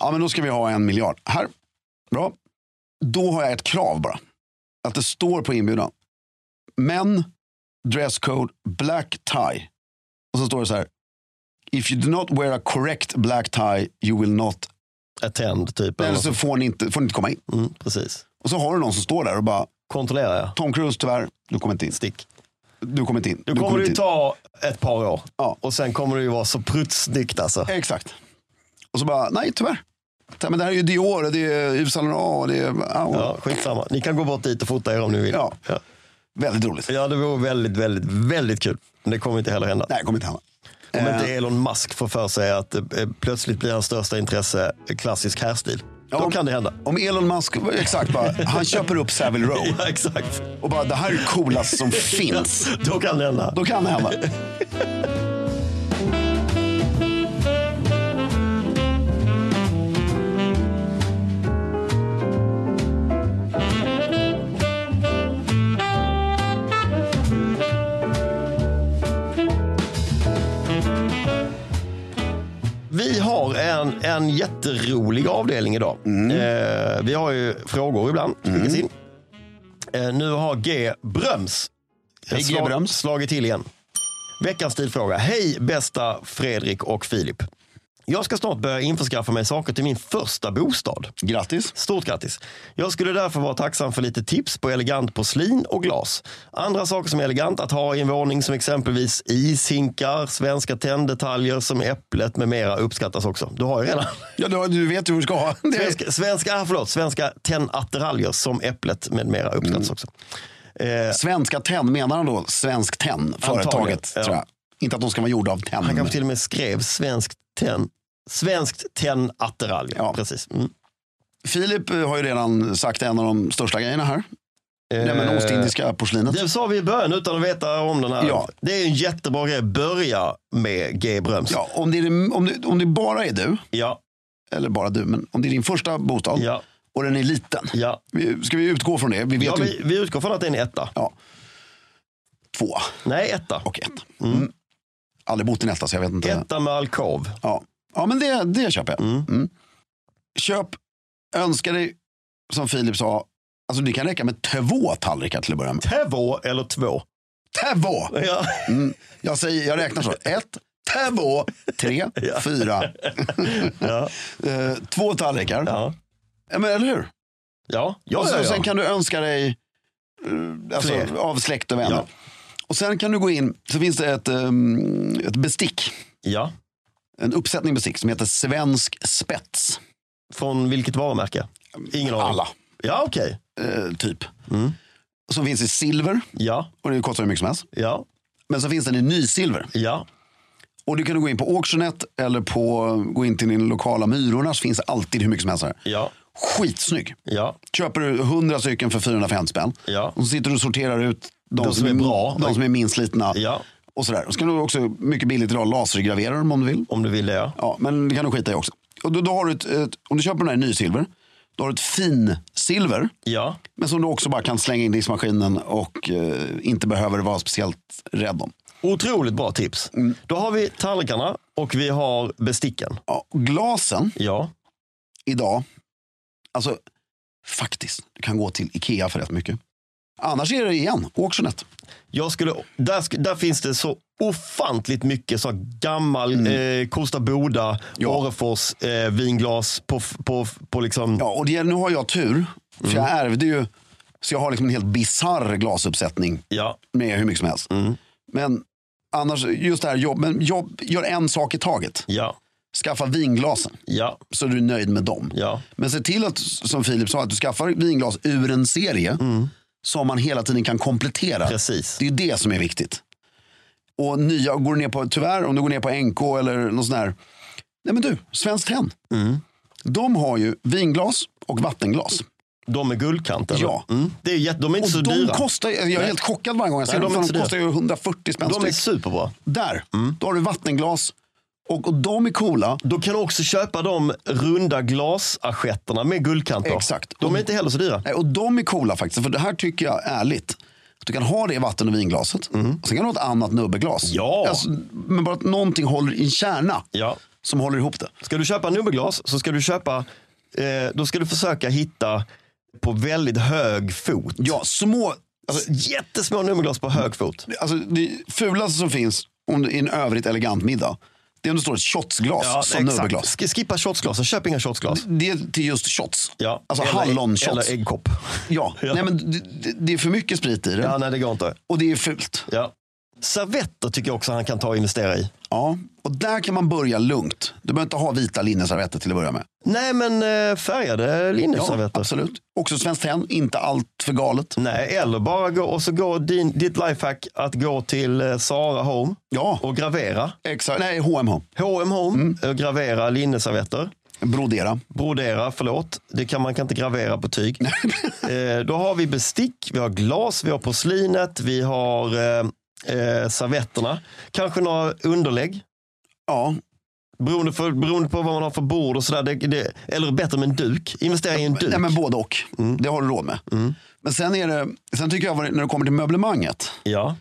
Ja men då ska vi ha en miljard. Här, bra. Då har jag ett krav bara. Att det står på inbjudan. Men, dresscode, black tie. Och så står det så här. If you do not wear a correct black tie you will not Attend typ. eller Eller så något. får ni, inte, får ni inte komma in. Mm, precis. Och så har du någon som står där och bara, Kontrollera ja. Tom Cruise tyvärr, du kommer inte in. Stick. Du kommer inte in. Nu kommer inte det ju in. ta ett par år. Ja. Och sen kommer det ju vara så pruttsnyggt alltså. Exakt. Och så bara, nej tyvärr. Nej, Men det här är ju Dior, och det är Yves Saint Laurent och det är... Ja, Ja, skitsamma. Ni kan gå bort dit och fota er om ni vill. Ja. Ja. Väldigt roligt. ja, det vore väldigt, väldigt, väldigt kul. Men det kommer inte heller hända. Nej, det kommer inte hända. Om inte Eh. Elon Musk får för sig att eh, plötsligt blir hans största intresse eh, klassisk härstil. Ja, Då om- kan det hända. Om Elon Musk, exakt bara, han köper upp Savile Row Ja, exakt. och bara, det här är coolast som finns. Då kan det hända. Då kan det hända. Vi har en, en jätterolig avdelning idag. Mm. Eh, vi har ju frågor ibland. som skickas in. Eh, nu har G. Bröms Hej, G. Bröms. slagit till igen. Veckans stilfråga. Hej bästa Fredrik och Filip. Jag ska snart börja införskaffa mig saker till min första bostad. Grattis. Stort grattis! Jag skulle därför vara tacksam för lite tips på elegant porslin och glas. Andra saker som är elegant att ha i en våning som exempelvis ishinkar, svenska tänddetaljer som äpplet med mera uppskattas också. Du har ju redan. Ja, du, du vet hur du ska ha. Det är- Svenska, svenska, ah, förlåt, svenska tändattiraljer som äpplet med mera Mm. uppskattas också. Eh, Svenska Tenn, menar han då Svensk Tenn, företaget? ja. Tror jag. Inte att de ska vara gjorda av tenn. han kanske till och med skrev svenskt tenn. Svenskt tennattiralj. Ja. Precis. Mm. Filip eh, har ju redan sagt en av de största grejerna här. Nej, men ostindiska porslinet. Eh, Det sa vi i början utan att veta om den här. Ja. Det är en jättebra grej. Börja med G. Bröms. Ja, om, det är, om, det, om det bara är du, Ja, eller bara du, men om det är din första bostad ja, och den är liten. ja. Vi, ska vi utgå från det? Vi vet ja ju vi, vi utgår från att det är en etta. Ja. två Nej, etta. och ett. Mm. Aldrig bott i en etta så jag vet inte. Etta med alkov. Ja. ja, men det, det köper jag. Mm. Köp, önska dig, som Filip sa, alltså det kan räcka med två tallrikar till att börja med. Tevå eller två. Två! Ja. Mm. Jag, säger, jag räknar så. Ett, två, tre, Ja. fyra. Ja. Eh, två tallrikar. Ja. Ja. men, eller hur? Ja. Ja, Och sen, ja, ja. sen kan du önska dig eh, alltså, Fler. av släkt och vänner. Ja. Och sen kan du gå in, så finns det ett, ehm, ett bestick. ja. En uppsättning bestick som heter Svensk spets. Från vilket varumärke? Ingen aning. Alla, Ja, okej. eh, typ. Mm. Som finns i silver, Ja, och det kostar hur mycket som helst. ja, Men så finns den i nysilver. ja. Och du kan gå in på Auctionet eller på, gå in till din lokala Myrorna så finns det alltid hur mycket som helst här. Ja, Skitsnygg. ja, Köper du 100 stycken för 450 spänn. ja, Och så sitter du och sorterar ut de, De som är bra. de som är minst slitna. ja. Och sådär. Och så kan du också mycket billigt idag lasergravera dem om du vill. Om du vill det, ja. Ja, men det kan du skita i också. Och då, då har du ett, ett, om du köper den här i nysilver, då har du ett finsilver. Ja, Men som du också bara kan slänga in i diskmaskinen och eh, inte behöver vara speciellt rädd om. otroligt bra tips. Mm. Då har vi tallrikarna och vi har besticken. Ja, och glasen Ja, idag, alltså faktiskt, du kan gå till Ikea för rätt mycket. Annars är det igen, Auctionet. jag skulle, där, sk- där finns det så ofantligt mycket så här gammal eh, Kosta Boda, Mm. Ja. Orrefors eh, vinglas på, f- på, f- på liksom... Ja, och det, nu har jag tur, för jag ärvde ju, så jag har liksom en helt bisarr glasuppsättning Ja, med hur mycket som helst. Mm. Men annars, just det här, jobb, men jobb, gör en sak i taget. ja, Skaffa vinglasen, ja, så är du nöjd med dem. ja, Men se till att, som Filip sa, att du skaffar vinglas ur en serie som man hela tiden kan komplettera. Mm. precis. Det är ju det som är viktigt. Och nya, går du ner på, tyvärr, om du går ner på NK eller någon sån här. Nej men du, Svenskt Tenn. Mm. De har ju vinglas och vattenglas. De med guldkant, eller? Ja. Mm. Det är, jätte- de är inte Och så de dyra. kostar, jag är Nej. helt chockad varje gång jag ser Nej, dem. de för är inte De så kostar ju 140 spänn de är styck. superbra. Där, då har du vattenglas. Och, och de är coola. Då kan du också köpa de runda glasassietterna med guldkanter. Exakt. De är inte heller så dyra. Nej, Och de är coola faktiskt. För det här tycker jag ärligt. att Du kan ha det i vatten och vinglaset. Och sen kan du ha ett annat nubbeglas. Ja. Alltså, men bara att någonting håller i en kärna Ja. som håller ihop det. Ska du köpa nummerglas så ska du köpa, eh, då ska du försöka hitta på väldigt hög fot. Ja, små Alltså, jättesmå nummerglas på hög fot. alltså, det fulaste som finns om det, i en övrigt elegant middag, det är om det står ett shotsglas som nubbeglas. Sk- Skippa shotsglasen, köp inga shotsglas. Det är till just shots. Ja. Alltså Eller- hallonshots. Eller äggkopp. Ja. Ja. Nej, men det, det- det är för mycket sprit i det Ja, nej, det går inte. och det är fult. Ja. Servetter tycker jag också han kan ta och investera i. Ja. Och där kan man börja lugnt. Du behöver inte ha vita linneservetter till att börja med. Nej, men eh, färgade Ja, linneservetter. absolut. Också Svenskt Tenn, inte allt för galet. Nej, eller bara gå och så går din, ditt lifehack att gå till eh, Sara Home Ja, och gravera. exakt. Nej, HMH. H&M Home, eh, gravera linneservetter. Brodera. Brodera, förlåt. Det kan, man kan inte gravera på tyg. eh, då har vi bestick, vi har glas, vi har porslinet, vi har eh, eh, servetterna. Kanske några underlägg. Ja, Beroende, för, beroende på vad man har för bord och sådär. Det, det, eller bättre med en duk. Investera i en duk. Nej, men både och. Det har du råd med. Men sen, är det, sen tycker jag vad det- när det kommer till möblemanget. Ja,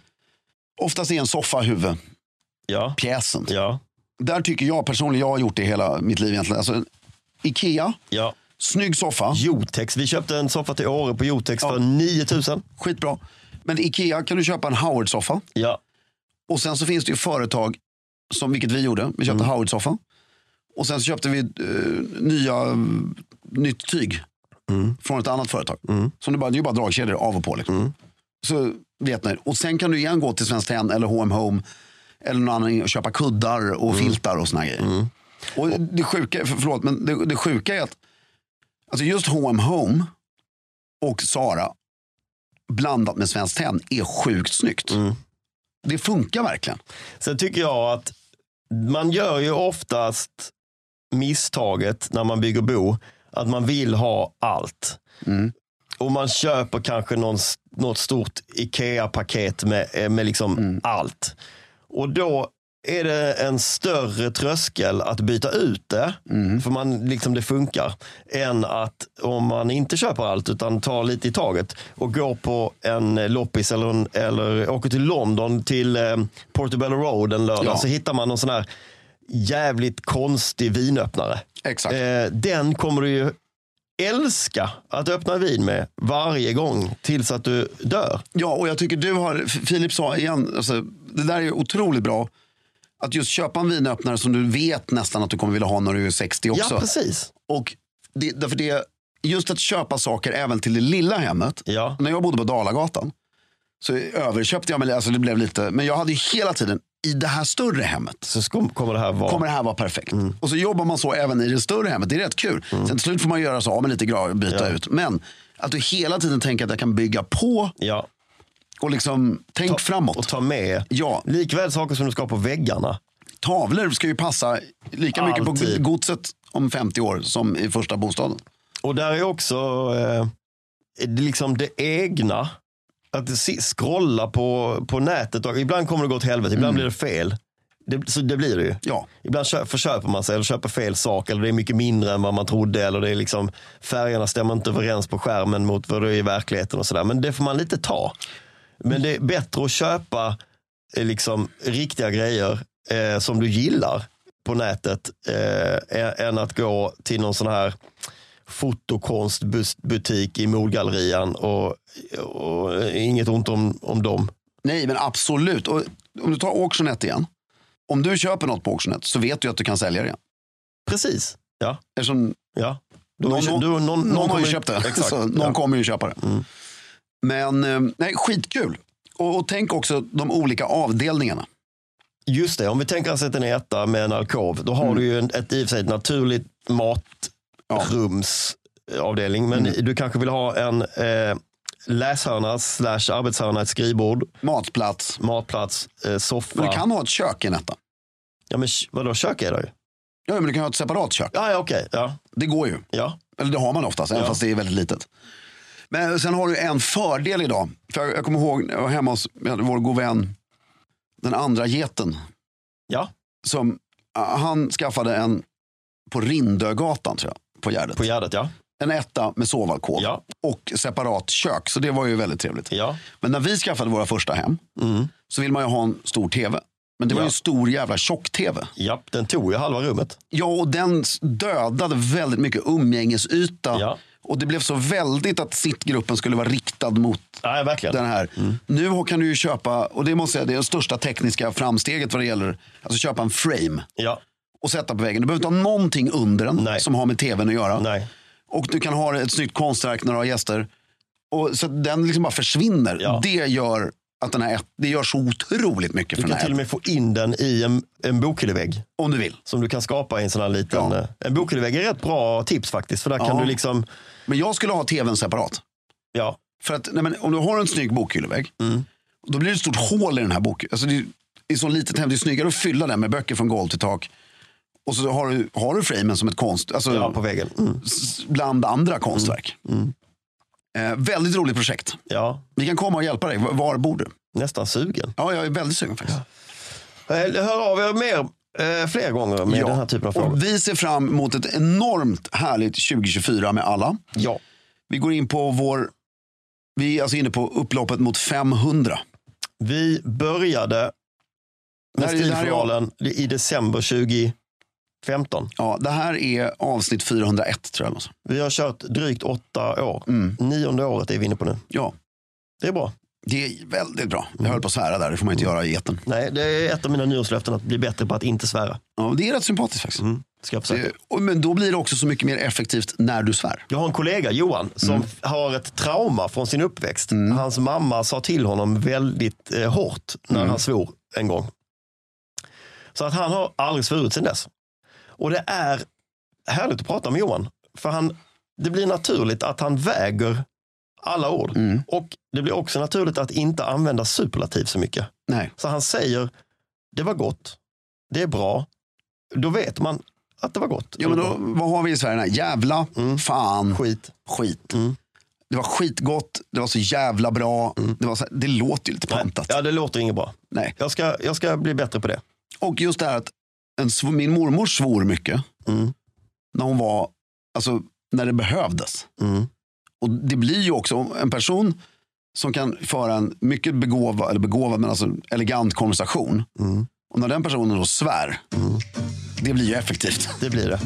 Oftast är en soffa huvudpjäsen. ja, ja, Där tycker jag personligen, jag har gjort det hela mitt liv egentligen. Alltså, Ikea, ja. snygg soffa, Jotex. Vi köpte en soffa till Åre på Jotex för 9000. skitbra. Men Ikea kan du köpa en Howard-soffa. Ja, Och sen så finns det ju företag, som vilket vi gjorde, vi köpte Howard-soffan. Och sen så köpte vi eh, nya, mm, nytt tyg från ett annat företag. Som det, bara, det är ju bara dragkedjor av och på. Liksom. Så vet ni. Och sen kan du igen gå till Svenskt Tenn eller H&M Home eller någon annan och köpa kuddar och filtar och såna här grejer. Och det sjuka, för- förlåt, men det, det sjuka är att alltså just H&M Home och Sara blandat med Svenskt Tenn är sjukt snyggt. Det funkar verkligen. Sen tycker jag att man gör ju oftast misstaget när man bygger bo att man vill ha allt. Och man köper kanske någon, något stort Ikea-paket med, eh, med liksom allt. Och då är det en större tröskel att byta ut det, för man, liksom det funkar, än att om man inte köper allt utan tar lite i taget och går på en eh, loppis eller, en, eller åker till London till eh, Portobello Road en lördag Ja. så hittar man någon sån här jävligt konstig vinöppnare. Exakt. Eh, den kommer du ju älska att öppna vin med varje gång tills att du dör. Ja, och jag tycker du har, F- Filip sa igen, alltså, det där är otroligt bra. Att just köpa en vinöppnare som du vet nästan att du kommer vilja ha när du är 60 också. Ja, precis. och det, därför det, just att köpa saker även till det lilla hemmet. Ja. När jag bodde på Dalagatan så överköpte jag mig, alltså det blev lite, men jag hade ju hela tiden i det här större hemmet Så skom- kommer det här vara. kommer det här vara perfekt. Mm. Och så jobbar man så även i det större hemmet. Det är rätt kul. Sen till slut får man göra så, ja, men lite gra- byta ut. Men att du hela tiden tänker att jag kan bygga på Ja, och liksom tänk framåt. och ta med. Ja. Likväl saker som du ska ha på väggarna. Tavlor ska ju passa lika mycket Alltid. på godset om 50 år som i första bostaden. Och där är också eh, det- liksom det egna. Att si- scrolla på, på nätet. Och ibland kommer det gå åt helvete, Mm. ibland blir det fel. Det, så det blir det ju. Ja, Ibland kö- förköper man sig eller köper fel sak eller det är mycket mindre än vad man trodde eller det är liksom färgerna stämmer inte överens på skärmen mot vad det är i verkligheten och sådär. Men det får man lite ta. Men det är bättre att köpa eh, liksom riktiga grejer eh, som du gillar på nätet eh, ä- än att gå till någon sån här fotokonstbutik i Mordgallerian och, och eh, inget ont om, om dem. nej men absolut. Och om du tar Auctionet igen. Om du köper något på Auctionet så vet du att du kan sälja det igen. Precis, ja. Eftersom ja. Du, Någon- du, någon, någon, någon, har ju kommer- köpt det. Exakt, så någon ja. Mm. kommer ju köpa det. Men eh, nej, skitkul. Och, och tänk också de olika avdelningarna. Just det, om vi tänker oss att en etta med en alkov, då har Mm. du ju en, ett i och för sig ett naturligt matrumsavdelning, men Mm. du kanske vill ha en eh, läshörna slash arbetshörna, ett skrivbord, Matplats. matplats, eh, soffa. Men du kan ha ett kök i en etta. Ja, men sh- vadå, kök är det ju. Ja, men du kan ha ett separat kök. Ja, ja, okej. Ja, Det går ju. ja. Eller det har man oftast, även Ja. fast det är väldigt litet. Men sen har du en fördel idag. För jag, jag kommer ihåg, när jag var hemma hos vi hade vår god vän, den andra geten. ja. Som, ah, han skaffade en på Rindögatan, tror jag, på Gärdet. på Gärdet, ja. En etta med sovalkov Ja. och separat kök. Så det var ju väldigt trevligt. ja. Men när vi skaffade våra första hem Mm. så vill man ju ha en stor tv. Men det var Ja. ju en stor jävla tjock-tv. Ja, den tog ju halva rummet. Ja, och den s- dödade väldigt mycket umgängesyta. Ja. Och det blev så väldigt att sittgruppen skulle vara riktad mot Nej, verkligen. den här. Mm. Nu har- kan du ju köpa, och det måste jag säga, det är det största tekniska framsteget vad det gäller, alltså köpa en frame Ja, och sätta på väggen. Du behöver inte ha någonting under den Nej. som har med tvn att göra. nej. Och du kan ha ett snyggt konstverk när du har gäster. Och så att den liksom bara försvinner. Ja. Det gör att den här, ett- det gör så otroligt mycket Du för den kan till här. och ett- med få in den i en, en bokhyllevägg. Om du vill. som du kan skapa i en sån här liten... Ja. eh, En bokhyllevägg är ett bra tips faktiskt. För där kan Ja. du liksom... Men jag skulle ha tvn separat. Ja, För att nej men, om du har en snygg bokhyllevägg, då blir det ett stort hål i den här bokhyllan. Alltså, det är- I så litet hem, det är snyggare att fylla den med böcker från golv till tak. Och så har du, har du framen som ett konst, alltså, ja på väggen. Mm. s- bland andra konstverk. Eh, väldigt roligt projekt. Ja, Vi kan komma och hjälpa dig. Var- Var bor du? nästan sugen. Ja, jag är väldigt sugen faktiskt. Eh, Hör av er mer, eh, fler gånger med den här typen av frågor. och vi ser fram emot ett enormt härligt 2024 med alla. Ja. Vi går in på vår... Vi är alltså inne på upploppet mot 500. Vi började med Där är- där är jag. stiljournalen i december 2015. Ja, det här är avsnitt 401 tror jag. Alltså. Vi har kört drygt åtta år. Mm. Nionde året är vi inne på nu. Ja, Det är bra. Det är väldigt bra. Jag höll på att svära där, det får man inte göra i etern. Nej, det är ett av mina nyårslöften att bli bättre på att inte svära. Mm, Ja, det är rätt sympatiskt faktiskt. Ska jag, försöka. Det, och, men då blir det också så mycket mer effektivt när du svär. jag har en kollega, Johan, som Mm. har ett trauma från sin uppväxt. Hans mamma sa till honom väldigt eh, hårt när Mm. han svor en gång. Så att han har aldrig svurit sedan dess. Och det är härligt att prata med Johan. För han, det blir naturligt att han väger alla ord. Mm. Och det blir också naturligt att inte använda superlativ så mycket. Nej. Så han säger, det var gott, det är bra. Då vet man att det var gott. Ja, men då, vad har vi i Sverige? Den här? Jävla, fan, Skit. skit. Det var skitgott, det var så jävla bra. Det, var så, det låter ju lite pantat. Ja, det låter inget bra. Mm. Nej. Jag ska, jag ska bli bättre på det. Och just det här att en, sv- min mormor svor mycket. Mm. När hon var, alltså när det behövdes. Mm. Och det blir ju också en person som kan föra en mycket begåvad, eller begåvad men alltså elegant konversation. Mm. Och när den personen då svär, det blir ju effektivt. Det blir det.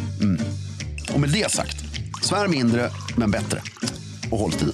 Och med det sagt, svär mindre men bättre. Och håll tiden.